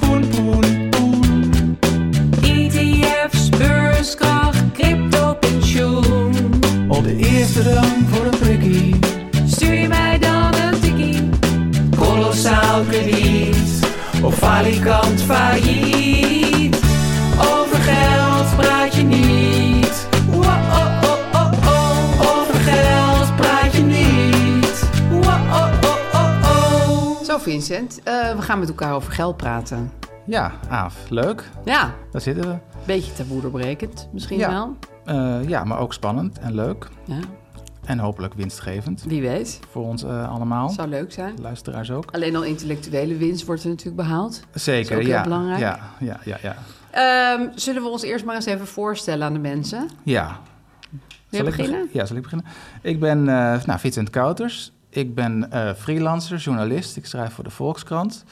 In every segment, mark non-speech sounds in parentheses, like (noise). poen, poen, poen. ETF's, beurskracht, crypto, pensioen. Op de eerste rang voor een prikkie. Stuur je mij dan een tikkie. Kolossaal krediet. Of falikant failliet. Over geld praat je niet. oh, Wow-oh-oh-oh-oh. oh. Over geld praat je niet. oh, Wow-oh-oh-oh-oh. Zo Vincent, eh, we gaan met elkaar over geld praten. Ja, Aaf, leuk. Ja, Daar zitten we. beetje taboe doorbrekend misschien Ja. wel. Eh, ja, maar ook spannend en leuk. Ja, En hopelijk winstgevend wie weet, voor ons eh, allemaal. zou leuk zijn. Luisteraars ook. Alleen al intellectuele winst wordt er natuurlijk behaald. Zeker, ook heel ja. belangrijk. Ja, ja, ja, ja. Ehm, zullen we ons eerst maar eens even voorstellen aan de mensen? ja. Wil je ik beg- beginnen? ja, zal ik beginnen? Ik ben eh nou, Vincent Kouters. Ik ben eh, freelancer, journalist. Ik schrijf voor de Volkskrant.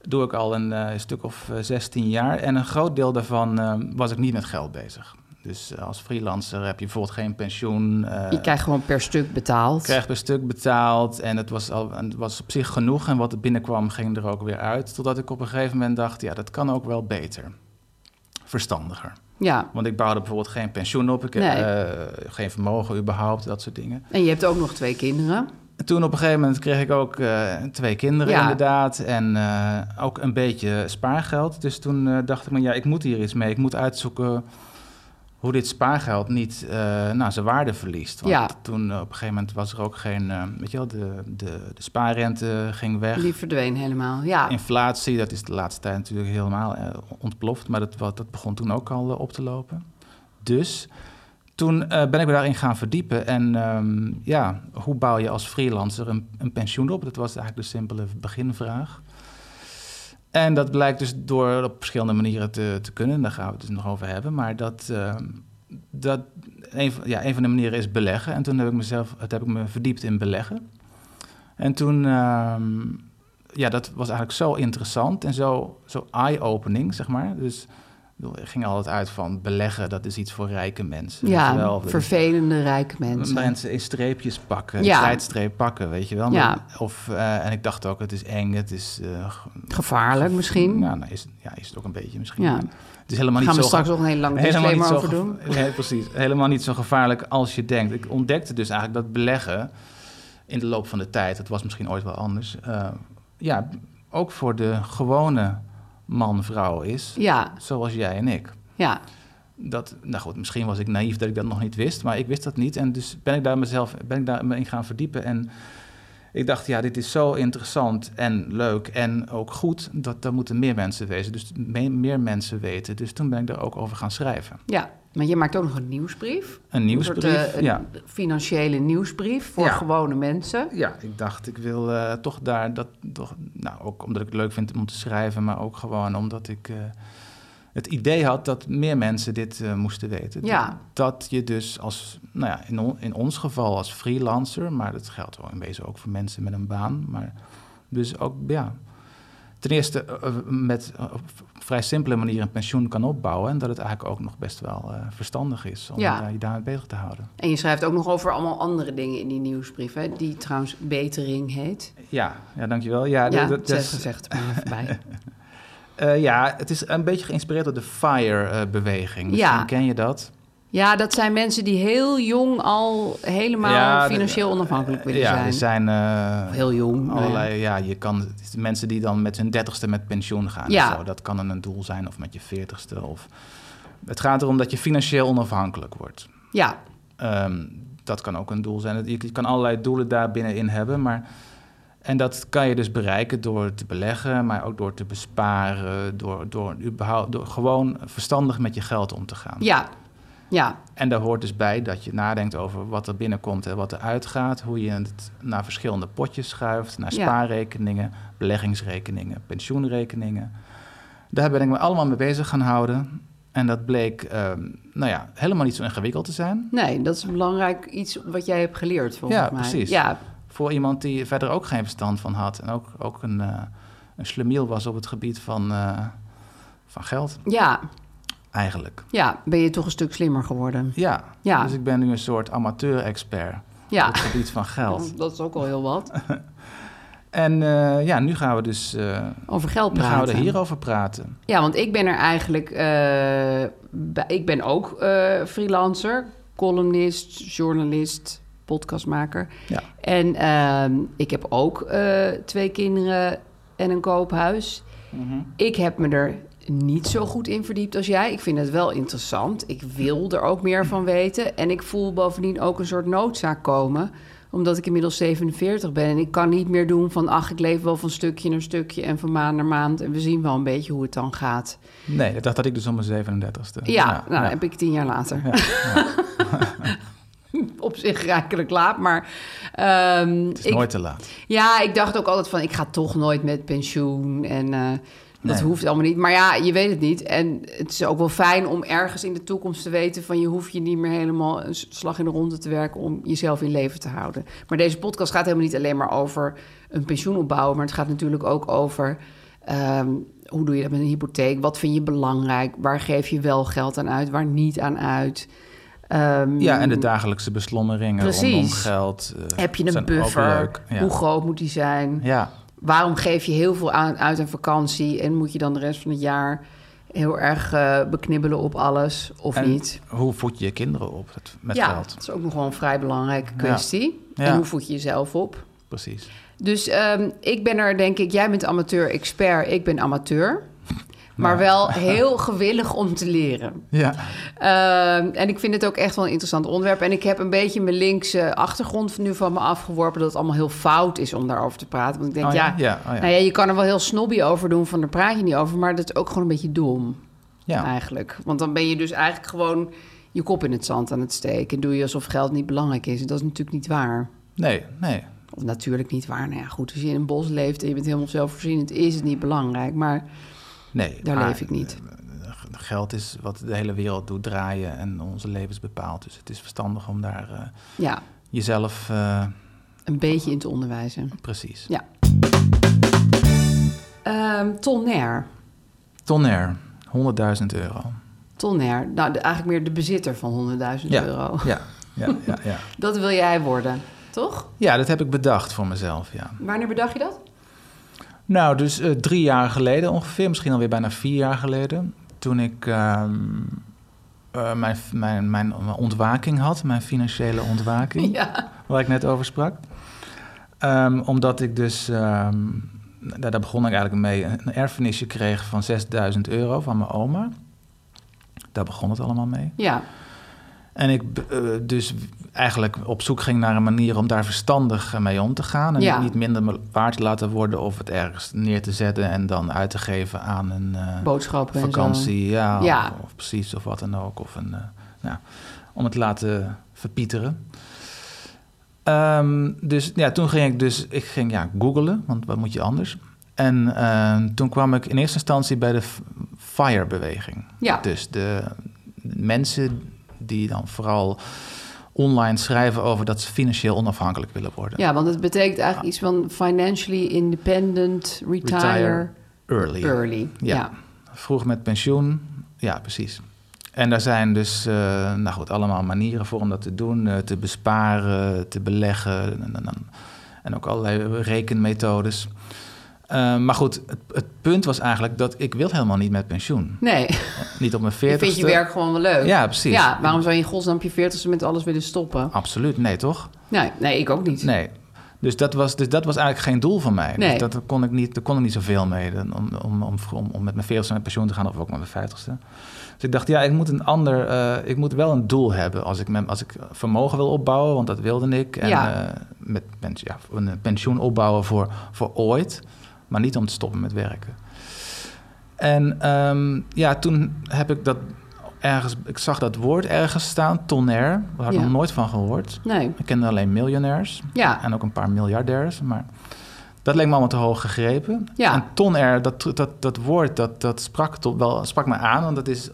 Doe ik al een eh, stuk of eh, 16 jaar. En een groot deel daarvan eh, was ik niet met geld bezig. Dus eh, als freelancer heb je bijvoorbeeld geen pensioen. eh, Je krijgt gewoon per stuk betaald. Krijg per stuk betaald en het was, al, en het was op zich genoeg. En wat er binnenkwam, ging er ook weer uit. Totdat ik op een gegeven moment dacht, ja, dat kan ook wel beter. Verstandiger. Ja, Want ik bouwde bijvoorbeeld geen pensioen op. Ik heb Nee. eh, geen vermogen überhaupt, dat soort dingen. en je hebt ook nog twee kinderen. En toen op een gegeven moment kreeg ik ook eh, twee kinderen Ja. inderdaad. En eh, ook een beetje spaargeld. Dus toen eh, dacht ik, me, ja, ik moet hier iets mee. Ik moet uitzoeken hoe dit spaargeld niet eh, nou, zijn waarde verliest. Want Ja. toen eh, op een gegeven moment was er ook geen... eh, weet je wel, de, de, de spaarrente ging weg. Die verdween helemaal. Ja, Inflatie, dat is de laatste tijd natuurlijk helemaal eh, ontploft. Maar dat, wat- dat begon toen ook al eh, op te lopen. Dus toen eh, ben ik me daarin gaan verdiepen. En ehm, ja, hoe bouw je als freelancer een, een pensioen op? Dat was eigenlijk de simpele beginvraag. En dat blijkt dus door op verschillende manieren te, te kunnen. Daar gaan we het dus nog over hebben. Maar dat, ehm, dat een, van- ja, een van de manieren is beleggen. En toen heb ik mezelf dat heb ik me verdiept in beleggen. En toen, ehm, ja, dat was eigenlijk zo interessant en zo, zo eye-opening, zeg maar. Dus ik bedoel, ik ging altijd uit van beleggen, dat is iets voor rijke mensen. weet je ja wel. Dat is- vervelende rijke mensen. Mensen in streepjes pakken, Ja. ja. tijdstreep pakken, weet je wel. Ja. Maar- Of, eh, en ik dacht ook, het is eng, het is... eh, g- Gevaarlijk misschien. Nou, nou is, het- ja, is het ook een beetje misschien. Ja. Maar Het is helemaal niet Gaan we zo... straks nog een hele lange disclaimer over geva- doen. Nee, precies. Helemaal niet zo gevaarlijk als je denkt. Ik ontdekte dus eigenlijk dat beleggen in de loop van de tijd... dat was misschien ooit wel anders... eh, ja, ook voor de gewone man-vrouw is, Ja, zoals jij en ik ja. dat, nou goed, misschien was ik naïef dat ik dat nog niet wist, maar ik wist dat niet. En dus ben ik daar mezelf, ben ik daar me in gaan verdiepen. En ik dacht, ja, dit is zo interessant en leuk en ook goed, dat er moeten meer mensen wezen. Dus me- meer mensen weten. Dus toen ben ik daar ook over gaan schrijven. Ja, maar je maakt ook nog een nieuwsbrief. Een nieuwsbrief, Een soort, eh, een ja. financiële nieuwsbrief voor Ja. gewone mensen. Ja, ik dacht, ik wil eh, toch daar dat, toch, nou, ook omdat ik het leuk vind om te schrijven, maar ook gewoon omdat ik eh, het idee had dat meer mensen dit eh, moesten weten. Ja. Dat je dus als, nou ja, in, on- in ons geval als freelancer, maar dat geldt wel in wezen ook voor mensen met een baan, maar dus ook, ja. Ten eerste eh, eh, met eh, op vrij simpele manier een pensioen kan opbouwen. En dat het eigenlijk ook nog best wel eh, verstandig is om Ja. eh, je daarmee bezig te houden. En je schrijft ook nog over allemaal andere dingen in die nieuwsbrief, hè? die trouwens Betering heet. Ja, ja dankjewel. Ja, ja, dat- dat- dat zeg, is- gezegd maar even (laughs) bij. Eh, ja, het is een beetje geïnspireerd door de FIRE-beweging. Ja. Misschien ken je dat. Ja, dat zijn mensen die heel jong al helemaal Ja, dat- financieel onafhankelijk willen ja, zijn. er zijn eh, Heel jong. maar ja. allerlei. Ja, je kan mensen die dan met hun dertigste met pensioen gaan. en Ja. Zo, dat kan dan een doel zijn, of met je veertigste. Of... Het gaat erom dat je financieel onafhankelijk wordt. Ja, Ehm, dat kan ook een doel zijn. Je, je kan allerlei doelen daar binnenin hebben, maar... En dat kan je dus bereiken door te beleggen, maar ook door te besparen, door, door, überhaupt, door gewoon verstandig met je geld om te gaan. ja, ja. En daar hoort dus bij dat je nadenkt over wat er binnenkomt en wat er uitgaat. Hoe je het naar verschillende potjes schuift. Naar Ja. spaarrekeningen, beleggingsrekeningen, pensioenrekeningen. Daar ben ik me allemaal mee bezig gaan houden. En dat bleek ehm, nou ja, helemaal niet zo ingewikkeld te zijn. Nee, dat is een belangrijk iets wat jij hebt geleerd volgens Ja, mij. precies. Ja, Voor iemand die verder ook geen verstand van had. En ook, ook een, eh een slemiel was op het gebied van, eh, van geld ja, eigenlijk. ja, ben je toch een stuk slimmer geworden. Ja. Ja. dus ik ben nu een soort amateur-expert Ja, op het gebied van (laughs) geld. dat is ook al heel wat. En eh, ja, nu gaan we dus eh, Over geld nu praten. gaan we er hierover praten. Ja, want ik ben er eigenlijk... eh, bij- ik ben ook eh, freelancer, columnist, journalist, podcastmaker. Ja. En ehm, ik heb ook eh, twee kinderen en een koophuis. Mhm. Ik heb me er niet zo goed in verdiept als jij. Ik vind het wel interessant. Ik wil er ook meer van weten. En ik voel bovendien ook een soort noodzaak komen omdat ik inmiddels 47 ben en ik kan niet meer doen van... ach, ik leef wel van stukje naar stukje en van maand naar maand... en we zien wel een beetje hoe het dan gaat. Nee, dat had ik dus om mijn 37ste. Ja, nou, ja. dat heb ik tien jaar later. Ja, ja. (laughs) Op zich rijkelijk laat, maar... ehm, Het is ik, nooit te laat. Ja, ik dacht ook altijd van, ik ga toch nooit met pensioen. En eh, dat Nee. hoeft allemaal niet. Maar ja, je weet het niet. En het is ook wel fijn om ergens in de toekomst te weten... van je hoeft je niet meer helemaal een s- slag in de ronde te werken... om jezelf in leven te houden. Maar deze podcast gaat helemaal niet alleen maar over een pensioen opbouwen... maar het gaat natuurlijk ook over... ehm, hoe doe je dat met een hypotheek? Wat vind je belangrijk? Waar geef je wel geld aan uit? Waar niet aan uit? Ehm, Ja, en de dagelijkse beslommeringen rondom Precies. geld. eh, heb je zijn een ook buffer? leuk. Ja. Hoe groot moet die zijn? ja. waarom geef je heel veel aan, uit aan vakantie en moet je dan de rest van het jaar heel erg eh, beknibbelen op alles of En niet? hoe voed je je kinderen op het- met ja, geld? dat is ook nog wel een vrij belangrijke kwestie. Ja. En hoe voed je jezelf op? Precies. Dus ehm, ik ben er denk ik, jij bent amateur-expert, ik ben amateur. Maar (laughs) wel heel gewillig om te leren. Ja, Ehm, en ik vind het ook echt wel een interessant onderwerp. En ik heb een beetje mijn linkse achtergrond nu van me afgeworpen... dat het allemaal heel fout is om daarover te praten. Want ik denk, Oh ja? ja, Ja, oh ja. Nou ja, je kan er wel heel snobby over doen... van daar praat je niet over, maar dat is ook gewoon een beetje dom ja. eigenlijk. Want dan ben je dus eigenlijk gewoon je kop in het zand aan het steken... en doe je alsof geld niet belangrijk is. En dat is natuurlijk niet waar. Nee, nee. Of natuurlijk niet waar. Nou ja, goed, als je in een bos leeft en je bent helemaal zelfvoorzienend... is het niet belangrijk, maar nee. daar Maar, leef ik niet. eh, Geld is wat de hele wereld doet draaien en onze levens bepaalt. Dus het is verstandig om daar eh, Ja, jezelf... eh, een beetje in te onderwijzen. precies. Ja. Ehm Tonner. Tonner, 100.000 euro. Tonner. Nou, de- eigenlijk meer de bezitter van 100.000 Ja, euro. Ja, ja, ja, (laughs) ja. Dat wil jij worden, toch? ja, dat heb ik bedacht voor mezelf, ja. Wanneer bedacht je dat? Nou, dus eh, drie jaar geleden ongeveer, misschien alweer bijna vier jaar geleden... toen ik ehm, eh, mijn, mijn, mijn ontwaking had, mijn financiële ontwaking... (laughs) (laughs) Ja. waar ik net over sprak. Ehm, omdat ik dus, ehm, daar, daar begon ik eigenlijk mee, een erfenisje kreeg van 6000 euro van mijn oma. Daar begon het allemaal mee. Ja. En ik b- eh, dus eigenlijk op zoek ging naar een manier om daar verstandig eh, mee om te gaan. En Ja. het niet minder me- waard te laten worden of het ergens neer te zetten en dan uit te geven aan een eh, Boodschappen en zo. vakantie. Ja, Ja. Of, of precies of wat dan ook. Of een, eh, ja, om het te laten verpieteren. Ehm, dus ja, toen ging ik dus, ik ging ja, googlen, want wat moet je anders? En eh, toen kwam ik in eerste instantie bij de f- FIRE-beweging. Ja. Dus de mensen die dan vooral online schrijven over dat ze financieel onafhankelijk willen worden. Ja, want het betekent eigenlijk iets van financially independent, retire, early. early. Ja. Ja. Vroeg met pensioen. Ja, precies. En daar zijn dus eh, nou goed, allemaal manieren voor om dat te doen. eh, te besparen, te beleggen en, en, en- en ook allerlei rekenmethodes. Ehm, Eh, maar goed, het, het punt was eigenlijk dat ik wil helemaal niet met pensioen. Nee, (laughs) Niet op mijn je veertigste. vindt je werk gewoon wel leuk. Ja, precies. Ja, waarom zou je in godsnaam op je veertigste met alles willen stoppen? Absoluut, nee toch? Nee, nee, ik ook niet. Nee. Dus dat, was, dus dat was eigenlijk geen doel van mij. Nee. Dus dat, daar kon ik niet, daar kon ik niet zoveel mee. dan Om, om, om, om, om met mijn veertigste met pensioen te gaan of ook met mijn vijftigste. Dus ik dacht, ja, ik moet een ander. eh, ik moet wel een doel hebben. Als ik, mijn- als ik vermogen wil opbouwen, want dat wilde ik. En Ja. eh, met pens, ja, een eh, pensioen opbouwen voor, voor ooit. Maar niet om te stoppen met werken. En ehm, ja, toen heb ik dat ergens. Ik zag dat woord ergens staan, tonner. Daar had ik Ja. nog nooit van gehoord. Nee. Ik kende alleen miljonairs. Ja. En ook een paar miljardairs. Maar dat leek me allemaal te hoog gegrepen. Ja. En tonair, dat, dat, dat woord, dat, dat sprak, tot wel, sprak me aan. Want dat is,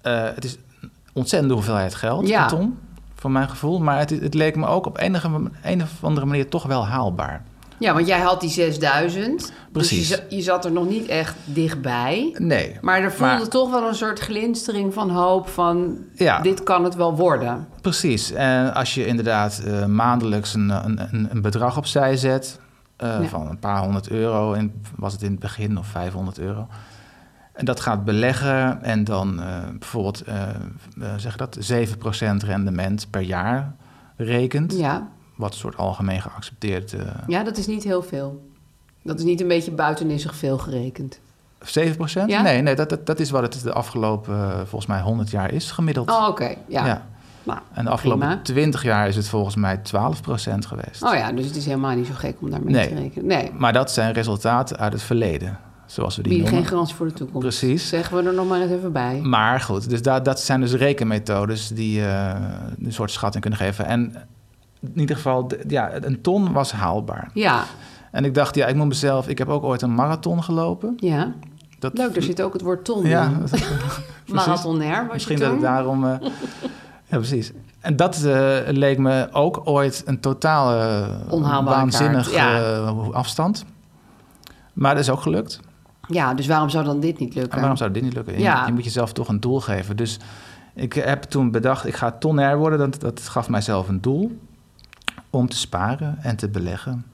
eh, het is een ontzettende hoeveelheid geld, Ja. een ton, voor mijn gevoel. Maar het, het leek me ook op enige, een of andere manier toch wel haalbaar. Ja, want jij had die 6000. Precies. Dus je, za- je zat er nog niet echt dichtbij. Nee. Maar er voelde toch wel een soort glinstering van hoop van... Ja. dit kan het wel worden. Precies. En als je inderdaad eh, maandelijks een, een, een- een bedrag opzij zet... eh, Ja. van een paar honderd euro, in, was het in het begin of 500 euro... en dat gaat beleggen en dan eh, bijvoorbeeld eh, eh, zeg je dat, 7% rendement per jaar rekent... Ja. wat een soort algemeen geaccepteerd... eh ja, dat is niet heel veel. Dat is niet een beetje buitenissig veel gerekend. 7%? Ja? Nee, nee dat, dat, dat is wat het de afgelopen eh, volgens mij 100 jaar is gemiddeld. Oh, oké. Ja. Ja. Nou, En de afgelopen prima. 20 jaar is het volgens mij 12% geweest. Oh ja, dus het is helemaal niet zo gek om daarmee Nee. te rekenen. Nee, Maar dat zijn resultaten uit het verleden, zoals we die bieden noemen. geen garantie voor de toekomst. Precies. Zeggen we er nog maar eens even bij. Maar goed, dus dat, dat zijn dus rekenmethodes die eh, een soort schatting kunnen geven. En in ieder geval, d- ja, een ton was haalbaar. Ja, En ik dacht, ja, ik moet mezelf... Ik heb ook ooit een marathon gelopen. ja. Dat, Leuk, er zit ook het woord ton (laughs) (laughs) Ja, in. Marathonair was misschien je dat toen. het daarom... eh, ja, precies. En dat eh, leek me ook ooit een totale eh, Onhaalbare waanzinnige kaart, eh, afstand. Maar dat is ook gelukt. Ja, dus waarom zou dan dit niet lukken? En waarom zou dit niet lukken? Je, Ja. moet- je moet jezelf toch een doel geven. Dus ik heb toen bedacht, ik ga tonair worden. Dat, dat gaf mijzelf een doel om te sparen en te beleggen.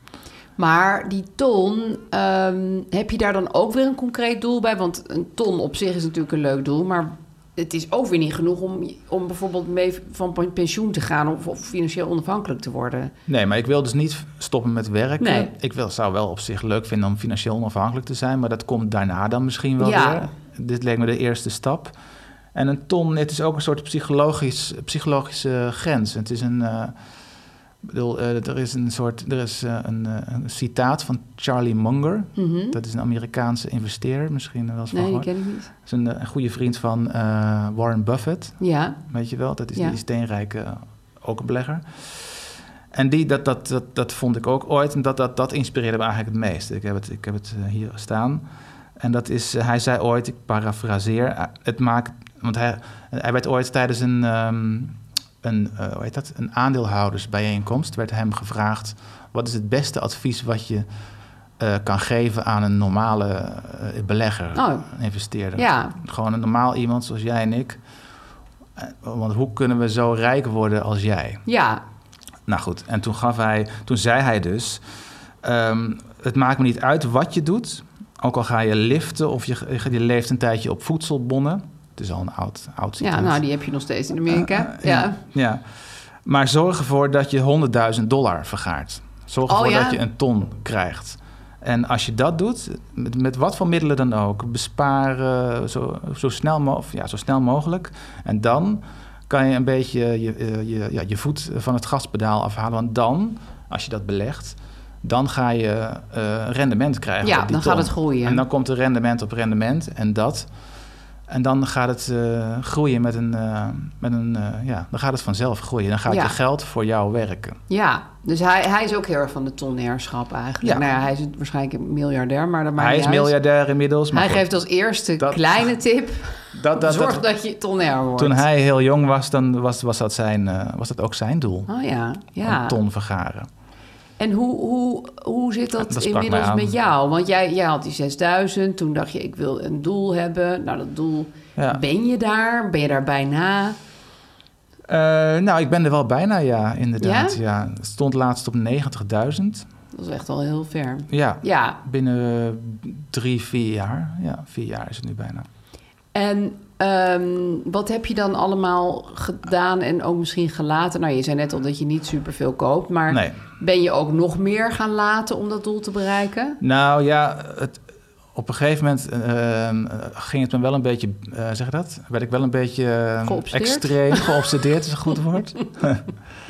Maar die ton, ehm, heb je daar dan ook weer een concreet doel bij? Want een ton op zich is natuurlijk een leuk doel, maar het is ook weer niet genoeg om, om bijvoorbeeld mee van pen- pensioen te gaan of, of financieel onafhankelijk te worden. Nee, maar ik wil dus niet stoppen met werken. Nee. Ik wil, zou wel op zich leuk vinden om financieel onafhankelijk te zijn, maar dat komt daarna dan misschien wel Ja. weer. Dit leek me de eerste stap. En een ton, het is ook een soort psychologisch, psychologische grens. Het is een, eh, ik bedoel, eh, er is een soort, er is eh, een, eh, een citaat van Charlie Munger. Dat is een Amerikaanse investeerder, misschien wel eens van Mhm. Hm? Nee, die gehoord. ken ik niet. Dat is een, eh, een goede vriend van eh, Warren Buffett. Ja, Weet je wel, dat is Ja. die steenrijke eh, ook een belegger. En die, dat, dat, dat, dat vond ik ook ooit. En dat, dat, dat inspireerde me eigenlijk het meest. Ik heb het, ik heb het eh, hier staan. En dat is, eh, hij zei ooit, ik parafraseer, eh, het maakt... Want hij, hij werd ooit tijdens een, ehm, een, eh, hoe heet dat? een aandeelhoudersbijeenkomst... werd hem gevraagd, wat is het beste advies wat je eh, kan geven aan een normale eh, belegger, Oh. investeerder? ja. Gewoon een normaal iemand zoals jij en ik. Eh, Want hoe kunnen we zo rijk worden als jij? Ja, Nou goed, en toen, gaf hij, toen zei hij dus... ehm, het maakt me niet uit wat je doet. Ook al ga je liften of je, je leeft een tijdje op voedselbonnen. Het is al een oud, oud citaat. ja nou die heb je nog steeds in Amerika. ja. Eh, Ja. Maar zorg ervoor dat je 100.000 dollar vergaart. Zorg Oh, ervoor ja? dat je een ton krijgt. En als je dat doet, met, met wat voor middelen dan ook, besparen zo, zo, snel mo- of ja, zo snel mogelijk. En dan kan je een beetje je, eh, je, ja, je voet van het gaspedaal afhalen. Want dan, als je dat belegt, dan ga je eh, rendement krijgen. Ja, op die dan gaat ton. het groeien. En dan komt er rendement op rendement. En dat en dan gaat het eh, groeien met een, eh, met een eh, ja, dan gaat het vanzelf groeien. Dan gaat Ja. je geld voor jou werken. Ja, dus hij, hij is ook heel erg van de tonnerschap eigenlijk. Ja. Nou ja, hij is waarschijnlijk een miljardair, maar dat maakt Hij niet is uit. miljardair inmiddels. Maar Hij goed, geeft als eerste Dat- kleine tip, (laughs) dat, dat, zorg dat- dat je tonner wordt. toen hij heel jong was, dan was, was, dat, zijn, eh, was dat ook zijn doel. Oh ja, ja. Een ton vergaren. En hoe, hoe, hoe zit dat, Dat sprak mij inmiddels aan. met jou? Want jij, jij had die 6000, toen dacht je ik wil een doel hebben. Nou, dat doel, Ja. ben je daar? Ben je daar bijna? Eh, nou, ik ben er wel bijna, ja, inderdaad. Ja? Ja? Het stond laatst op 90.000. Dat is echt al heel ver. Ja, Ja, binnen drie, vier jaar. Ja, vier jaar is het nu bijna. en ehm, wat heb je dan allemaal gedaan en ook misschien gelaten? Nou, je zei net al dat je niet superveel koopt, maar Nee. ben je ook nog meer gaan laten om dat doel te bereiken? Nou ja, het, op een gegeven moment eh, ging het me wel een beetje, eh, zeg je dat? Werd ik wel een beetje eh, Geobsedeerd? extreem geobsedeerd, is een goed woord. (laughs)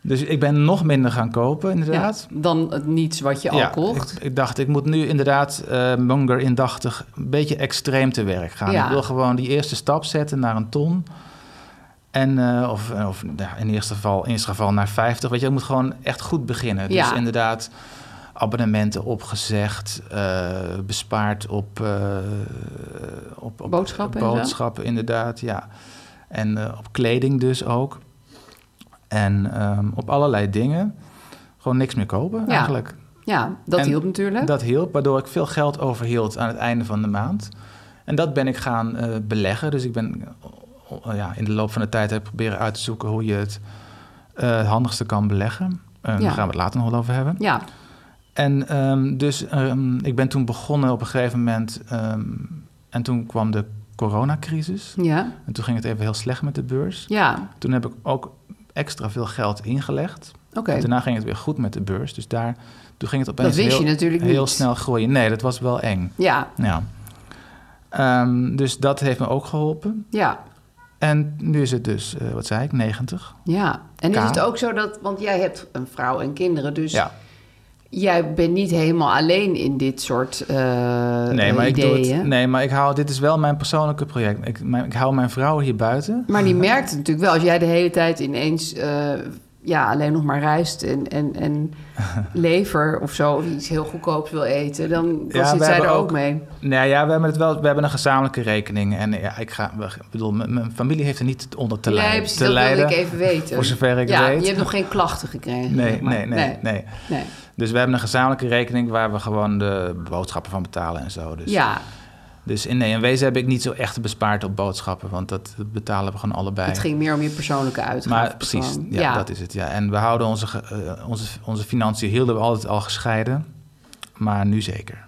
dus ik ben nog minder gaan kopen, inderdaad. Ja, dan het niets wat je al kocht. ik, ik dacht, ik moet nu inderdaad eh Munger indachtig een beetje extreem te werk gaan. Ja. Ik wil gewoon die eerste stap zetten naar een ton. En, eh, of of ja, in, eerste geval, in eerste geval naar 50. Weet je, dat moet gewoon echt goed beginnen. Dus Ja. inderdaad, abonnementen opgezegd, eh, bespaard op, eh, op, op Boodschappen en zo? boodschappen inderdaad, ja. En eh, op kleding dus ook. En ehm, op allerlei dingen. Gewoon niks meer kopen Ja. eigenlijk. Ja, dat En hielp natuurlijk. Dat hielp, waardoor ik veel geld overhield aan het einde van de maand. En dat ben ik gaan eh, beleggen. Dus ik ben eh, ja, in de loop van de tijd heb ik proberen uit te zoeken hoe je het eh, het handigste kan beleggen. Eh, Ja. Daar gaan we het later nog wel over hebben. ja, En ehm, dus ehm, ik ben toen begonnen op een gegeven moment. ehm, en toen kwam de coronacrisis. ja, En toen ging het even heel slecht met de beurs. ja. Toen heb ik ook extra veel geld ingelegd. Oké. En daarna ging het weer goed met de beurs. Dus daar, toen ging het opeens wist heel, je natuurlijk heel niet. snel groeien. Nee, dat was wel eng. Ja, Ja. Ehm, dus dat heeft me ook geholpen. ja, En nu is het dus, eh, wat zei ik, 90. ja. En K. is het ook zo dat, want jij hebt een vrouw en kinderen, dus Ja. jij bent niet helemaal alleen in dit soort eh Nee, maar ik, ideeën. doe het, nee, maar ik hou, dit is wel mijn persoonlijke project. Ik, mijn, ik hou mijn vrouw hier buiten. Maar die merkt het natuurlijk wel. Als jij de hele tijd ineens eh, ja, alleen nog maar rijst en, en, (laughs) en lever of zo... of iets heel goedkoops wil eten, dan, dan Ja, zit we zij hebben er ook, ook- mee. Nou ja, we hebben, het wel, we hebben een gezamenlijke rekening. En ja, ik ga, ik bedoel, mijn, mijn familie heeft er niet onder te, Ja, lij- precies, te dat lijden. wilde ik even weten. voor zover ik ja, weet. je hebt nog geen klachten gekregen. Nee, zeg maar. nee, nee, nee. nee. Dus we hebben een gezamenlijke rekening waar we gewoon de boodschappen van betalen en zo. Dus, Ja, dus in, nee, in wezen heb ik niet zo echt bespaard op boodschappen, want dat betalen we gewoon allebei. het ging meer om je persoonlijke uitgaven. maar precies, gewoon. ja, dat is het. Ja. En we houden onze, ge- eh, onze, onze financiën hielden we altijd al gescheiden, maar nu zeker.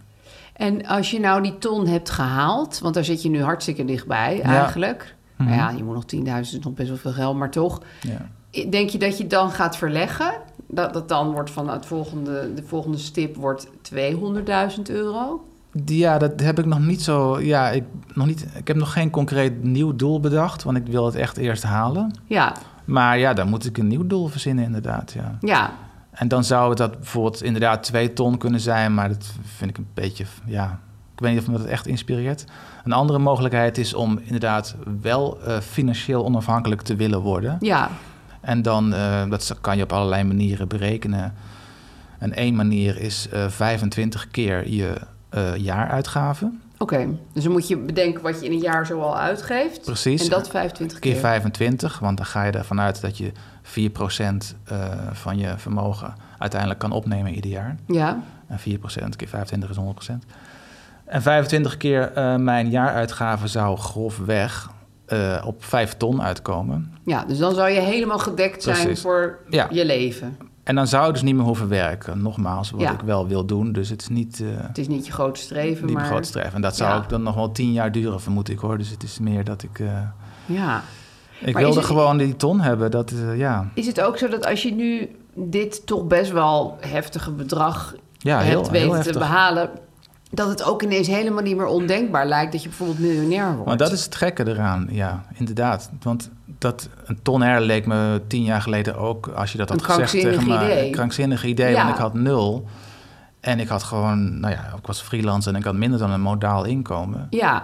En als je nou die ton hebt gehaald, want daar zit je nu hartstikke dichtbij eigenlijk. Nou ja, je moet nog 10.000, is nog best wel veel geld, maar toch. Mhm. Ja. Denk je dat je dan gaat verleggen? Dat, dat dan wordt van het volgende, de volgende stip wordt 200.000 euro? Die- Ja, dat heb ik nog niet zo. Ja, ik, nog niet, ik heb nog geen concreet nieuw doel bedacht, want ik wil het echt eerst halen. Ja, Maar ja, dan moet ik een nieuw doel verzinnen, inderdaad. Ja. ja, En dan zou het dat bijvoorbeeld inderdaad twee ton kunnen zijn, maar dat vind ik een beetje, ja, ik weet niet of me dat echt inspireert. Een andere mogelijkheid is om inderdaad wel eh, financieel onafhankelijk te willen worden. ja, En dan, eh, dat kan je op allerlei manieren berekenen. En één manier is eh, 25 keer je eh, jaaruitgaven. oké. Dus dan moet je bedenken wat je in een jaar zo al uitgeeft. Precies. En dat 25 keer. Keer 25, want dan ga je ervan uit dat je 4% eh, van je vermogen uiteindelijk kan opnemen ieder jaar. Ja, En 4% keer 25 is 100%. En 25 keer eh, mijn jaaruitgave zou grofweg eh op 5 ton uitkomen. ja, dus dan zou je helemaal gedekt zijn Precies. voor Ja. je leven. En dan zou ik dus niet meer hoeven werken. Nogmaals, wat Ja. ik wel wil doen. Dus het is niet, eh Het is niet je groot streven, niet maar... mijn groot streven. En dat zou Ja. ook dan nog wel 10 jaar duren, vermoed ik hoor. Dus het is meer dat ik... eh, Ja. ik Maar is wilde het- gewoon die ton hebben. Dat, eh, ja. Is het ook zo dat als je nu dit toch best wel heftige bedrag Ja, heel- hebt heel weten te heftig. behalen, dat het ook ineens helemaal niet meer ondenkbaar lijkt dat je bijvoorbeeld miljonair wordt? Maar dat is het gekke eraan, ja, inderdaad. Want dat, een ton her leek me tien jaar geleden ook, als je dat had Een gezegd tegen krankzinnig me, idee. een krankzinnig idee, Ja. want ik had nul. En ik had gewoon, nou ja, ik was freelance en ik had minder dan een modaal inkomen. Ja,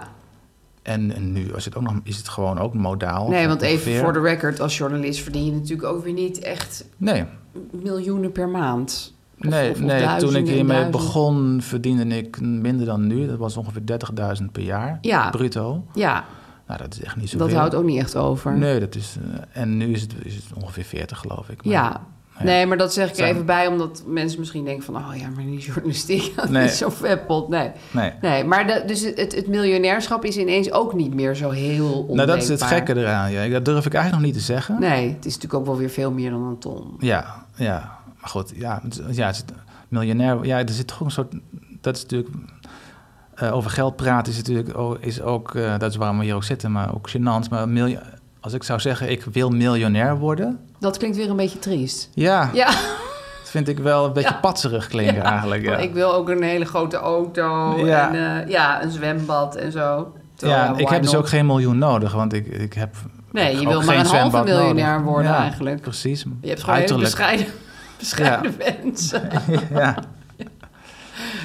En, en nu is het, ook nog, is het gewoon ook modaal. nee, want even ongeveer. voor de record, als journalist verdien je natuurlijk ook weer niet echt Nee, miljoenen per maand. Of- nee, of- of nee toen ik duizenden en hiermee duizenden. begon verdiende ik minder dan nu. Dat was ongeveer 30.000 per jaar, Ja. bruto. Ja, Nou, dat is echt niet zoveel. dat houdt ook niet echt over. Nee, dat is, eh, en nu is het, is het ongeveer 40 geloof ik. Maar- Ja. Nee, maar dat zeg ik er Zijn- even bij, omdat mensen misschien denken van... oh ja, maar die journalistiek, (laughs) dat Nee. is zo'n vetpot. Nee. Nee. nee maar dat- dus het, het miljonairschap is ineens ook niet meer zo heel ondenkbaar. Nou, dat is het gekke eraan. Ja. Dat durf ik eigenlijk nog niet te zeggen. Nee, het is natuurlijk ook wel weer veel meer dan een ton. Ja, ja. Maar goed, ja, het is- ja, het is- miljonair. Ja, er zit toch ook een soort. Dat is natuurlijk. eh, over geld praten is natuurlijk ook. Is ook eh, dat is waarom we hier ook zitten, maar ook gênant. Maar miljo- als ik zou zeggen, ik wil miljonair worden. Dat klinkt weer een beetje triest. Ja, Ja, dat vind ik wel een beetje Ja. Oh, patserig klinken eigenlijk. (laughs) Ja. ik wil ook een hele grote auto Ja. en eh, ja, een zwembad en zo. Terwijl, ja, ik why heb dus not? ook geen miljoen nodig, want ik, ik heb. Nee, je ook wil geen maar een halve zwembad nodig. miljonair worden Ja, eigenlijk. Precies. Je hebt gewoon hele uiterlijk. bescheiden, bescheiden (laughs) mensen. (laughs) ja. (laughs)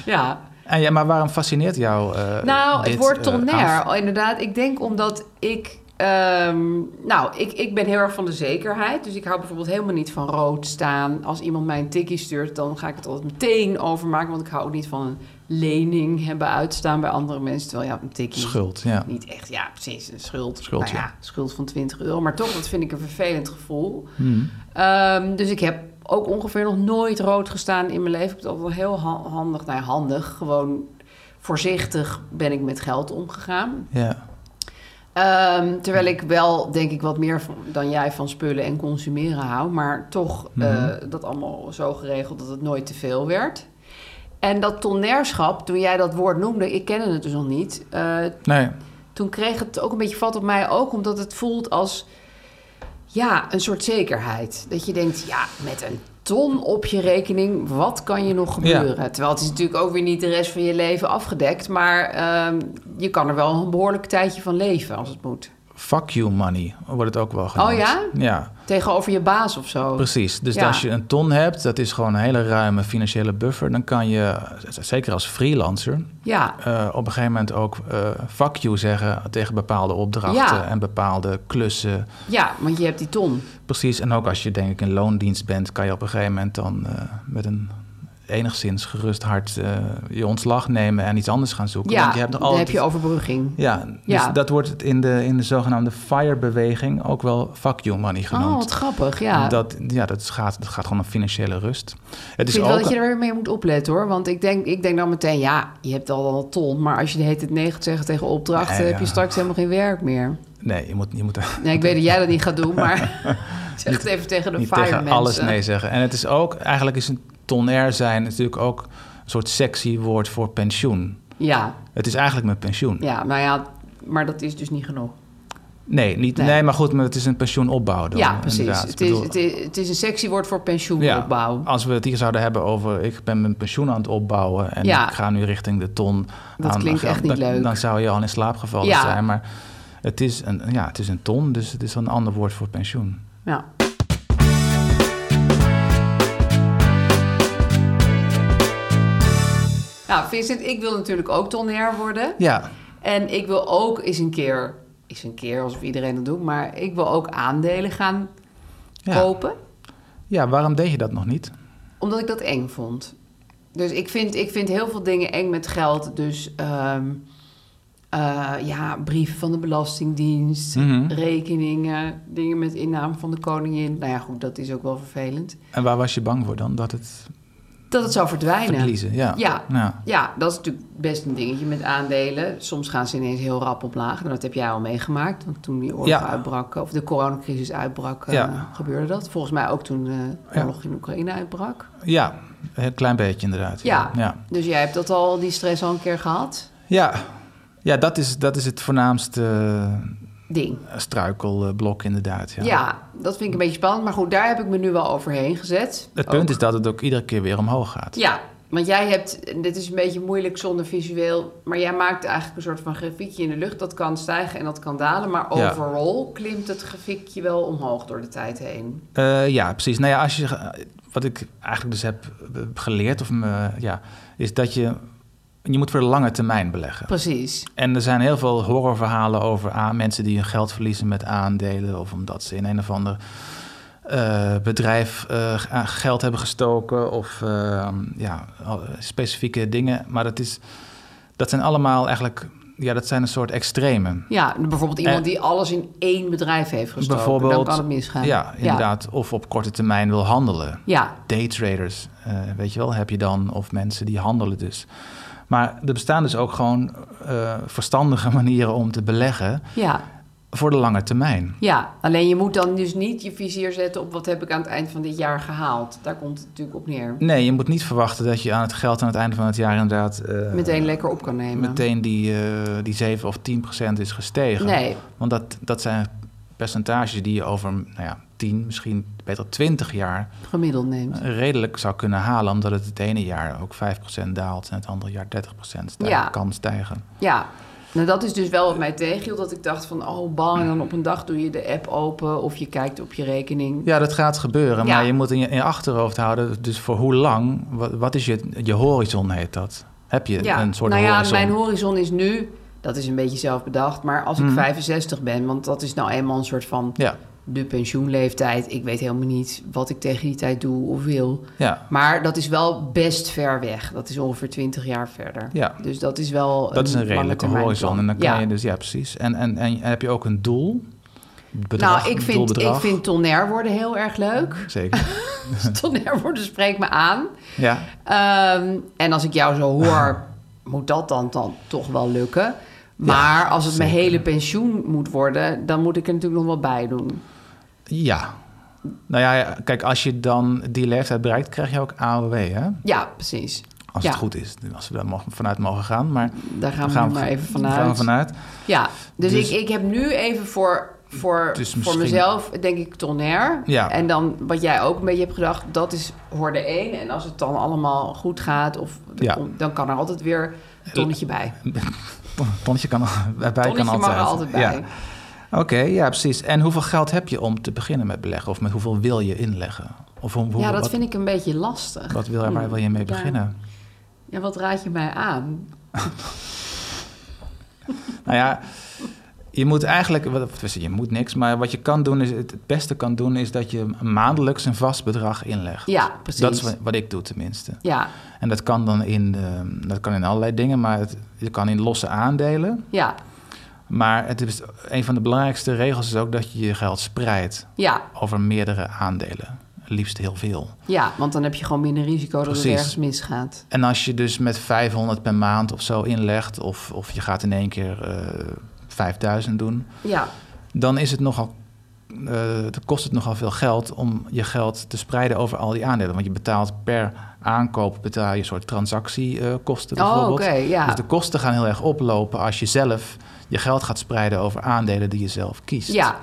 Ja. En ja, maar waarom fascineert jou? eh, Nou, dit, het woord eh, tonner, af? Oh, inderdaad. Ik denk omdat ik... ehm, nou, ik, ik ben heel erg van de zekerheid. Dus ik hou bijvoorbeeld helemaal niet van rood staan. Als iemand mij een tikkie stuurt, dan ga ik het altijd meteen overmaken. Want ik hou ook niet van een lening hebben uitstaan bij andere mensen. Terwijl ja, een tikkie... Schuld, ja. Niet echt, ja, precies, een schuld. Schuld, nou ja, ja. schuld van 20 euro. Maar toch, dat vind ik een vervelend gevoel. Ehm, dus ik heb ook ongeveer nog nooit rood gestaan in mijn leven. Ik heb het altijd wel heel ha- handig, nou ja, handig. Gewoon voorzichtig ben ik met geld omgegaan. Ja. Ehm, terwijl ik wel, denk ik, wat meer van- dan jij van spullen en consumeren hou. Maar toch eh, dat allemaal zo geregeld dat het nooit te veel werd. En dat tonnerschap, toen jij dat woord noemde, ik kende het dus nog niet. eh, Nee, toen kreeg het ook een beetje vat op mij ook, omdat het voelt als ja, een soort zekerheid. Dat je denkt, ja, met een ton op je rekening, wat kan je nog gebeuren? Terwijl het is natuurlijk ook weer niet de rest van je leven afgedekt, maar ehm, je kan er wel een behoorlijk tijdje van leven als het moet. fuck you money wordt het ook wel genoemd. Oh ja? Ja, Tegenover je baas of zo. precies. Dus Ja. als je een ton hebt, dat is gewoon een hele ruime financiële buffer. Dan kan je, z- zeker als freelancer, Ja, eh, op een gegeven moment ook eh, fuck you zeggen tegen bepaalde opdrachten Ja. en bepaalde klussen. ja, want je hebt die ton. Precies, en ook als je denk ik in loondienst bent, kan je op een gegeven moment dan eh, met een enigszins gerust hart eh, je ontslag nemen en iets anders gaan zoeken. Ja, Want je hebt nog dan heb altijd- je overbrugging. Ja, dus Ja. dat wordt het in de, in de zogenaamde FIRE-beweging ook wel fuck you money Oh, genoemd. wat grappig, ja. Dat, ja, dat gaat, dat gaat gewoon om financiële rust. Het is Ik vind wel Dus ook, dat je er mee moet opletten hoor. Want ik denk, ik denk dan meteen, ja, je hebt al een ton. Maar als je de hele tijd nee gaat zeggen tegen opdrachten, Nee, heb je ja. straks helemaal geen werk meer. Nee, je moet, je moet Nee, ik weet dat jij dat niet gaat doen, maar (laughs) zeg het even tegen de (laughs) niet fire tegen mensen. alles nee zeggen. En het is ook, eigenlijk is een tonair zijn natuurlijk ook een soort sexy woord voor pensioen. Ja, Het is eigenlijk mijn pensioen. ja, nou ja, maar dat is dus niet genoeg. Nee, niet, Nee. nee. maar goed, maar het is een pensioen opbouwen. ja, precies. inderdaad. Het Ik is, bedoel- het, is, het is een sexy woord voor Ja, pensioenopbouw. als we het hier zouden hebben over... ik ben mijn pensioen aan het opbouwen... en Ja. ik ga nu richting de ton. Dat aan klinkt echt niet dan, leuk. Dan zou je al in slaap gevallen Ja. zijn. Maar het is, een, ja, het is een ton, dus het is wel een ander woord voor pensioen. Ja. Nou, Vincent, ik wil natuurlijk ook tonner worden. Ja, En ik wil ook eens een keer, eens een keer alsof iedereen dat doet, maar ik wil ook aandelen gaan Ja. kopen, ja waarom deed je dat nog niet? omdat ik dat eng vond. Dus ik vind, ik vind heel veel dingen eng met geld. Dus ehm, eh, ja, brieven van de Belastingdienst, Mhm. rekeningen, dingen met innaam van de koningin. Nou ja, goed, dat is ook wel vervelend. En waar was je bang voor dan? Dat het Dat het zou verdwijnen. verliezen? Ja. Ja. ja. Ja, dat is natuurlijk best een dingetje met aandelen. Soms gaan ze ineens heel rap omlaag. En dat heb jij al meegemaakt. Want toen die oorlog Ja. uitbrak, of de coronacrisis uitbrak, eh, Ja. gebeurde dat. Volgens mij ook toen eh, de Ja. oorlog in Oekraïne uitbrak. Ja, een klein beetje inderdaad. Ja. ja. dus jij hebt dat al, die stress al een keer gehad. ja. ja dat, is, dat is het voornaamste Ding. eh, struikelblok inderdaad. Ja. dat vind ik een beetje spannend. Maar goed, daar heb ik me nu wel overheen gezet. Het Ook. punt is dat het ook iedere keer weer omhoog gaat. Ja, want jij hebt, en dit is een beetje moeilijk zonder visueel, maar jij maakt eigenlijk een soort van grafiekje in de lucht. Dat kan stijgen en dat kan dalen, maar Ja. overal klimt het grafiekje wel omhoog door de tijd heen. Eh, ja, precies. Nou ja, als je, eh, wat ik eigenlijk dus heb eh, geleerd, of me, ja, is dat je, je moet voor de lange termijn beleggen. Precies. En er zijn heel veel horrorverhalen over aan, mensen die hun geld verliezen met aandelen. Of omdat ze in een of ander eh, bedrijf eh, g- aan geld hebben gestoken. Of eh, ja, al- eh, specifieke dingen. Maar dat, is, dat zijn allemaal eigenlijk, ja, dat zijn een soort extremen. Ja, bijvoorbeeld iemand Eh, die alles in één bedrijf heeft gestoken. Bijvoorbeeld, Dan kan het misgaan. Ja, inderdaad. Of op korte termijn wil handelen. Ja, daytraders, eh, weet je wel, heb je dan. Of mensen die handelen dus. (laughs) Maar er bestaan dus ook gewoon eh, verstandige manieren om te beleggen. ja, voor de lange termijn. Ja, alleen je moet dan dus niet je vizier zetten op wat heb ik aan het eind van dit jaar gehaald. Daar komt het natuurlijk op neer. Nee, je moet niet verwachten dat je aan het geld aan het einde van het jaar inderdaad eh, Meteen lekker op kan nemen. meteen die, eh, die 7 of 10 procent is gestegen. Nee. Want dat, dat zijn percentages die je over nou ja, 10, misschien beter 20 jaar Gemiddeld neemt. Eh, redelijk zou kunnen halen. Omdat het het ene jaar ook 5% daalt en het andere jaar 30% stijgt, Ja. kan stijgen. Ja, nou dat is dus wel wat mij tegenhield. Dat ik dacht van, oh bang, en dan op een dag doe je de app open of je kijkt op je rekening. Ja, dat gaat gebeuren. Ja. Maar je moet in je, in je achterhoofd houden, dus voor hoe lang, wat, wat is je, je horizon heet dat? Heb je Ja, een soort nou ja, horizon? mijn horizon is nu, dat is een beetje zelf bedacht, maar als ik 65 ben, want dat is nou eenmaal een soort van Mhm. ja, de pensioenleeftijd. Ik weet helemaal niet wat ik tegen die tijd doe of wil. ja. Maar dat is wel best ver weg. Dat is ongeveer 20 jaar verder. Ja. Dus dat is wel Dat is een lange redelijke termijn horizon. plan. En dan kan Ja. je dus, ja, precies. En, en, en heb je ook een doel? Bedrag, nou, ik vind, ik doelbedrag? vind tonair worden heel erg leuk. Zeker. (laughs) tonair worden spreekt me aan. ja. Ehm, en als ik jou zo (laughs) hoor, moet dat dan, dan toch wel lukken. Maar als het mijn hele pensioen moet worden, dan moet ik er natuurlijk nog wat bij doen. Ja. Nou ja, kijk, als je dan die leeftijd bereikt, krijg je ook AOW, hè? Ja, precies. Als ja, het goed is, als we daar mogen, vanuit mogen gaan. Maar Daar gaan we nu maar even vanuit. Gaan we vanuit. Ja, dus, Dus- ik, ik heb nu even voor, voor, Dus voor misschien- mezelf, denk ik, tonair. Ja. En dan wat jij ook een beetje hebt gedacht, dat is horde 1. En als het dan allemaal goed gaat, of, er Ja. komt- dan kan er altijd weer een tonnetje bij. Tonnetje (laughs) kan, bij kan tonnetje altijd. mag er altijd bij. Ja. Oké, ja, precies. En hoeveel geld heb je om te beginnen met beleggen? Of met hoeveel wil je inleggen? Of hoe, hoe- Ja, dat wat, vind ik een beetje lastig. Wat wil, waar wil je mee Ja. beginnen? Ja, wat raad je mij aan? Nou ja, je moet eigenlijk, wat- of tenminste, je moet niks, maar wat je kan doen, is, het het beste kan doen, is dat je maandelijks een vast bedrag inlegt. Ja, precies. Dat is wat, wat ik doe tenminste. Ja, En dat kan dan in, ehm, dat kan in allerlei dingen, maar het, je kan in losse aandelen. ja, Maar het is, een van de belangrijkste regels is ook dat je je geld spreidt ja, over meerdere aandelen. Liefst heel veel. ja. Want dan heb je gewoon minder risico dat het Precies. ergens misgaat. En als je dus met 500 per maand of zo inlegt, of, of je gaat in één keer eh 5000 doen, Ja, dan is het nogal, eh, dan kost het nogal veel geld om je geld te spreiden over al die aandelen. Want je betaalt per aankoop betaal je een soort transactiekosten eh, Oh, bijvoorbeeld. oké, ja. Dus de kosten gaan heel erg oplopen als je zelf je geld gaat spreiden over aandelen die je zelf kiest. ja.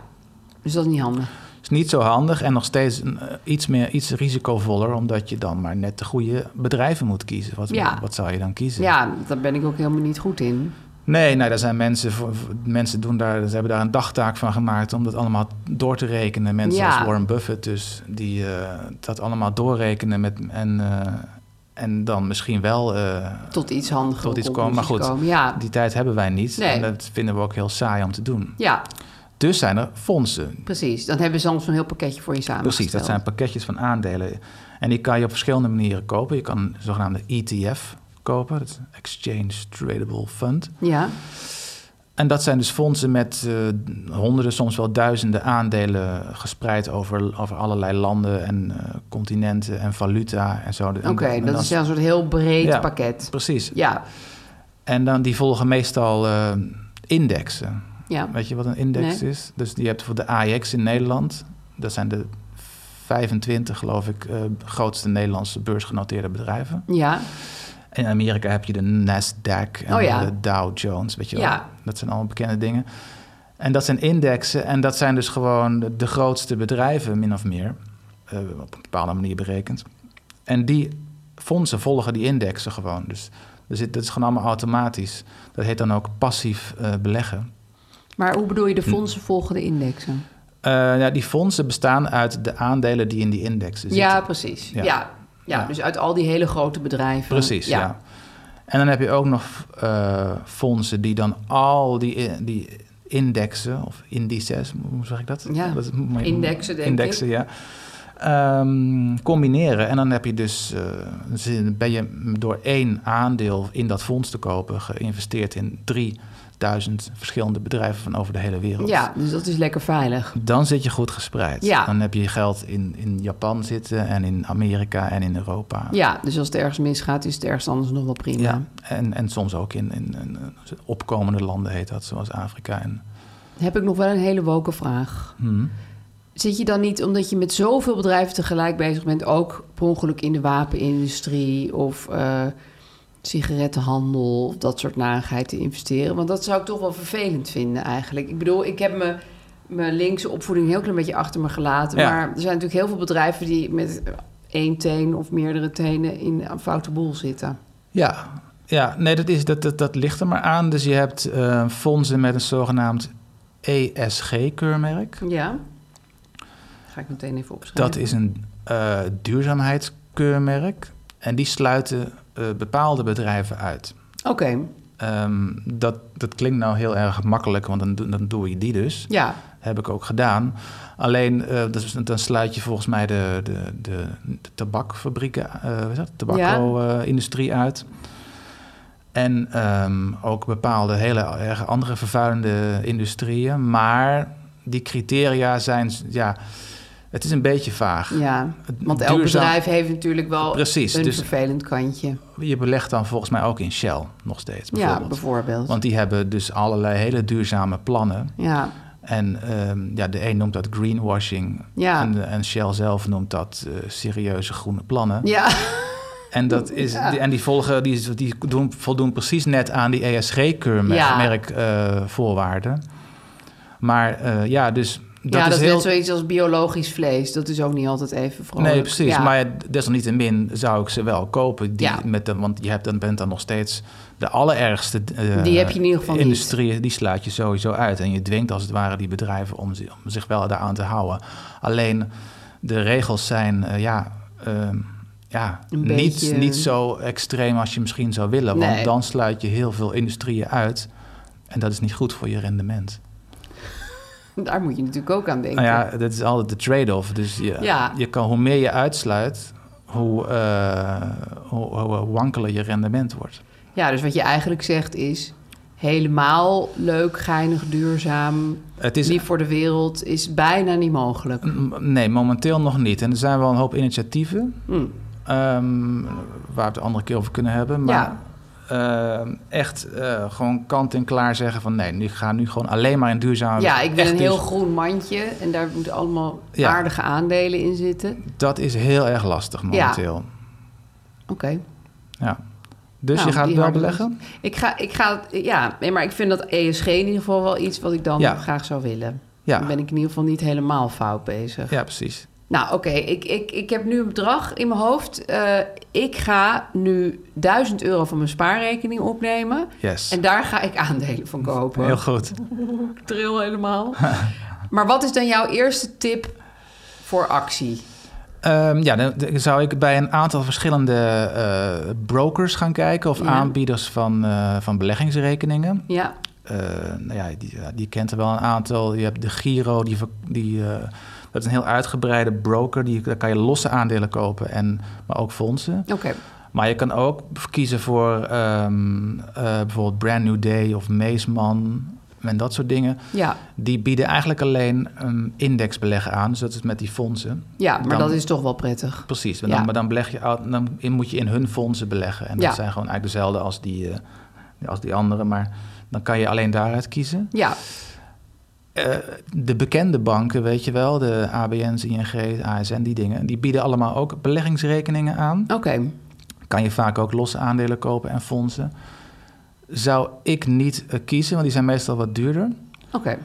Dus dat is niet handig. is niet zo handig en nog steeds eh, iets, meer, iets risicovoller, omdat je dan maar net de goede bedrijven moet kiezen. Wat, Ja. wat zou je dan kiezen? Ja, daar ben ik ook helemaal niet goed in. Nee, nou, daar zijn mensen, voor- voor- mensen doen daar, ze hebben daar een dagtaak van gemaakt om dat allemaal door te rekenen. Mensen Ja. als Warren Buffett, dus die eh, dat allemaal doorrekenen met, en, eh, en dan misschien wel eh, Tot iets handiger. tot iets komen. Maar goed, Ja. die tijd hebben wij niet. Nee. En dat vinden we ook heel saai om te doen. ja, Dus zijn er fondsen. precies. Dan hebben ze soms een heel pakketje voor je samengesteld. Precies, dat zijn pakketjes van aandelen. En die kan je op verschillende manieren kopen. Je kan een zogenaamde ETF kopen, dat is Exchange Tradable Fund. Ja, En dat zijn dus fondsen met eh, honderden, soms wel duizenden aandelen gespreid over, over allerlei landen en eh, continenten en valuta en zo. oké. dat is ja een soort heel breed Ja. pakket. Precies. Ja, En dan die volgen meestal eh, indexen. ja. Weet je wat een index Nee. is? Dus je hebt voor de AEX in Nederland. Dat zijn de 25, geloof ik, eh, grootste Nederlandse beursgenoteerde bedrijven. Ja, In Amerika heb je de Nasdaq en Oh ja. de Dow Jones, weet je wel. Ja. Dat zijn allemaal bekende dingen. En dat zijn indexen en dat zijn dus gewoon de- de grootste bedrijven, min of meer, eh, op een bepaalde manier berekend. En die fondsen volgen die indexen gewoon. Dus er zit, dat is gewoon allemaal automatisch. Dat heet dan ook passief eh, beleggen. maar hoe bedoel je de fondsen volgen de indexen? Eh, ja, die fondsen bestaan uit de aandelen die in die indexen zitten. Ja, precies. Ja. Ja. Ja. Ja. dus uit al die hele grote bedrijven. Precies, ja. En dan heb je ook nog eh, fondsen die dan al die, eh, die indexen, of indices, hoe zeg ik dat? Ja, Dat is mooi- indexen, denk indexen, ja. Ehm, combineren. En dan heb je dus, eh, zin- ben je door één aandeel in dat fonds te kopen geïnvesteerd in 3000 verschillende bedrijven van over de hele wereld. Ja, dus dat is lekker veilig. Dan zit je goed gespreid. Ja. Dan heb je je geld in, in Japan zitten en in Amerika en in Europa. Ja, dus als het ergens misgaat, is het ergens anders nog wel prima. Ja, en, en soms ook in, in, in, eh, opkomende landen heet dat, zoals Afrika en heb ik nog wel een hele woke vraag. Hmm. Zit je dan niet, omdat je met zoveel bedrijven tegelijk bezig bent, ook per ongeluk in de wapenindustrie of eh, sigarettenhandel of dat soort narigheid te investeren? Want dat zou ik toch wel vervelend vinden eigenlijk. Ik bedoel, ik heb me, mijn linkse opvoeding een heel klein beetje achter me gelaten. Ja. Maar er zijn natuurlijk heel veel bedrijven die met eh, één teen of meerdere tenen in een foute boel zitten. Ja, ja nee, dat, is, dat, dat, dat ligt er maar aan. Dus je hebt eh, fondsen met een zogenaamd E ESG-keurmerk. Ja. Ga ik meteen even opschrijven. Dat is een eh, duurzaamheidskeurmerk. En die sluiten eh, bepaalde bedrijven uit. Oké, Ehm, dat, dat klinkt nou heel erg makkelijk, want dan, doe- dan doe je die dus. ja. Heb ik ook gedaan. Alleen, eh, dus, dan sluit je volgens mij de, de, de, de tabakfabrieken, eh wat is dat? tabakro-industrie uit. En ehm, ook bepaalde hele erg andere vervuilende industrieën. Maar die criteria zijn, ja, het is een beetje vaag. Ja, Het want elk duurzaam- bedrijf heeft natuurlijk wel Precies, een dus- vervelend kantje. Je belegt dan volgens mij ook in Shell nog steeds, bijvoorbeeld. Ja, bijvoorbeeld. Want die hebben dus allerlei hele duurzame plannen. ja, En ehm, ja, de een noemt dat greenwashing. Ja. En, eh, en Shell zelf noemt dat eh, serieuze groene plannen. ja, En, dat is, die- en die, volgen, die, die doen, voldoen precies net aan die E Ja. ESG-keurmerkvoorwaarden. Maar eh, ja, dus dat (laughs) ja, is dat is heel... net zoiets als biologisch vlees. Dat is ook niet altijd even vrolijk. Nee, precies. Ja. Maar ja, desalniettemin zou ik ze wel kopen. Die Ja. met de, want je hebt, dan bent dan nog steeds de allerergste eh, Die heb je in ieder geval niet. industrie. Die slaat je sowieso uit. En je dwingt als het ware die bedrijven om, zi- om zich wel daaraan te houden. Alleen de regels zijn eh, ja, ehm, ja, Een niet, beetje- niet zo extreem als je misschien zou willen. Want Nee. dan sluit je heel veel industrieën uit. En dat is niet goed voor je rendement. Daar moet je natuurlijk ook aan denken. Nou ja, dat is altijd de trade-off. Dus je, Ja. je kan, hoe meer je uitsluit, hoe, eh, hoe, hoe wankeler je rendement wordt. Ja, dus wat je eigenlijk zegt is... helemaal leuk, geinig, duurzaam, Het is, Nou, lief voor de wereld... is bijna niet mogelijk. m- nee, momenteel nog niet. En er zijn wel een hoop initiatieven Mm. ehm, waar we het de andere keer over kunnen hebben. Maar Ja. ehm, echt eh, gewoon kant en klaar zeggen van nee, nu ga nu gewoon alleen maar in duurzame. Ja, ik wil echt dus een heel duurzaam- groen mandje... en daar moeten allemaal Ja. aardige aandelen in zitten. Dat is heel erg lastig momenteel. Oké. Ja. Dus Nou, je gaat die het wel harde beleggen? lust. Ik ga, ik ga, ja, nee, maar ik vind dat ESG in ieder geval wel iets wat ik dan Ja. graag zou willen. Ja. Dan ben ik in ieder geval niet helemaal fout bezig. ja, precies. Nou, oké, ik, ik, ik heb nu een bedrag in mijn hoofd. Eh, ik ga nu 1000 euro van mijn spaarrekening opnemen. Yes. En daar ga ik aandelen van kopen. Heel goed. Ik Tril (laughs) helemaal. maar wat is dan jouw eerste tip voor actie? Ehm, ja, dan dan zou ik bij een aantal verschillende eh, brokers gaan kijken of Ja. aanbieders van, eh, van beleggingsrekeningen. Ja, Eh, nou ja, die, ja, die kent er wel een aantal. Je hebt de Giro, die, verk- die, eh, dat is een heel uitgebreide broker. Die, daar kan je losse aandelen kopen, en, maar ook fondsen. oké. Maar je kan ook kiezen voor ehm, eh, bijvoorbeeld Brand New Day of Meesman en dat soort dingen. Ja. Die bieden eigenlijk alleen een indexbeleggen aan, dus dat is met die fondsen. ja, maar Dan- dat is toch wel prettig. Precies, want dan, Ja. maar dan, beleg je, al- dan in- moet je in hun fondsen beleggen. En Ja. dat zijn gewoon eigenlijk dezelfde als die, eh, als die andere. Maar dan kan je alleen daaruit kiezen. Ja, Eh, de bekende banken, weet je wel, de ABN's, ING, ASN, die dingen... die bieden allemaal ook beleggingsrekeningen aan. oké. Kan je vaak ook losse aandelen kopen en fondsen. Zou ik niet eh, kiezen, want die zijn meestal wat duurder. Oké.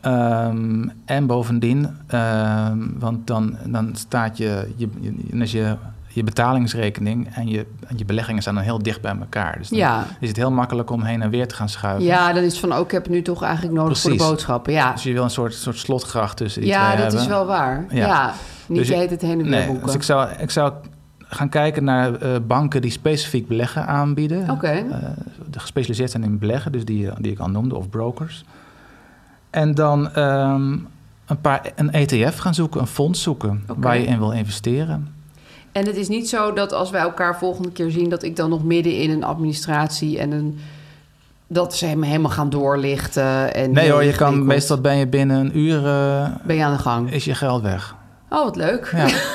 Ehm, en bovendien, ehm, want dan, dan staat je, je, je, als je, je betalingsrekening en je, en je beleggingen staan dan heel dicht bij elkaar. Dus dan Ja. is het heel makkelijk om heen en weer te gaan schuiven. Ja, dan is het van, oh, ik heb het nu toch eigenlijk nodig voor de Precies. boodschappen. Ja, Dus je wil een soort, soort slotgracht tussen die ja twee dat hebben. is wel waar. Ja, Ja. niet Dus je ik- heet het heen en weer nee, boeken. Dus ik zou, ik zou gaan kijken naar eh, banken die specifiek beleggen aanbieden. Oké, eh, gespecialiseerd zijn in beleggen, dus die, die ik al noemde, of brokers. En dan ehm, een, paar, een ETF gaan zoeken, een fonds zoeken Oké. waar je in wil investeren. en het is niet zo dat als wij elkaar volgende keer zien... dat ik dan nog midden in een administratie en een... dat ze hem helemaal gaan doorlichten. En Nee heel hoor, je kan, ingewikkeld. meestal ben je binnen een uur eh, Ben je aan de gang? is je geld weg. Oh, wat leuk. (laughs)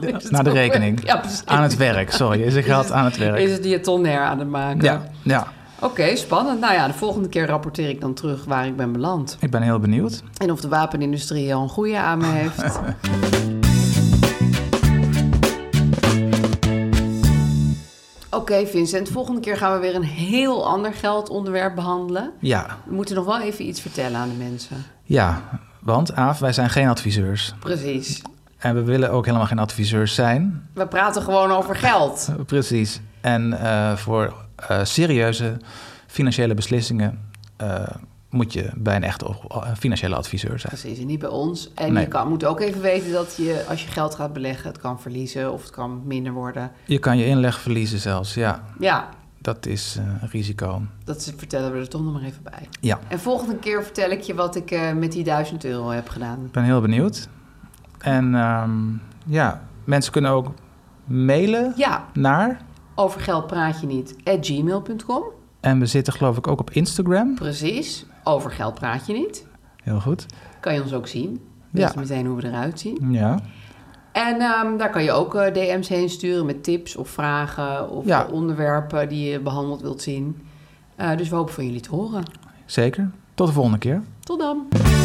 Ja. Naar de rekening. Ja, precies. Aan het werk, sorry. Is je geld aan het werk. Is het diatonair aan het maken? Ja, ja. Oké, Oké, spannend. Nou ja, de volgende keer rapporteer ik dan terug waar ik ben beland. Ik ben heel benieuwd. En of de wapenindustrie al een goede aan me heeft. Oké, Vincent, volgende keer gaan we weer een heel ander geldonderwerp behandelen. Ja, We moeten nog wel even iets vertellen aan de mensen. ja. Want Aaf, wij zijn geen adviseurs. Precies. En we willen ook helemaal geen adviseurs zijn. We praten gewoon over geld. Precies. En eh, voor eh, serieuze financiële beslissingen eh, moet je bij een echte op- eh, financiële adviseur zijn. Precies, en niet bij ons. En Nee. je kan, moet ook even weten dat je, als je geld gaat beleggen, het kan verliezen of het kan minder worden. Je kan je inleg verliezen zelfs, ja. Ja, Dat is eh, een risico. dat is- vertellen we er toch nog maar even bij. Ja, En volgende keer vertel ik je wat ik eh, met die 1000 euro heb gedaan. ik ben heel benieuwd. En ehm, ja, mensen kunnen ook mailen Ja, naar. over geld praat je niet. At gmail.com. En we zitten geloof ik ook op Instagram. Precies. Over geld praat je niet. Heel goed. Kan je ons ook zien. Weet Ja. je meteen hoe we eruit zien. Ja. En ehm, daar kan je ook eh, DM's heen sturen met tips of vragen of Ja. eh, onderwerpen die je behandeld wilt zien. Eh, dus we hopen van jullie te horen. Zeker. Tot de volgende keer. Tot dan.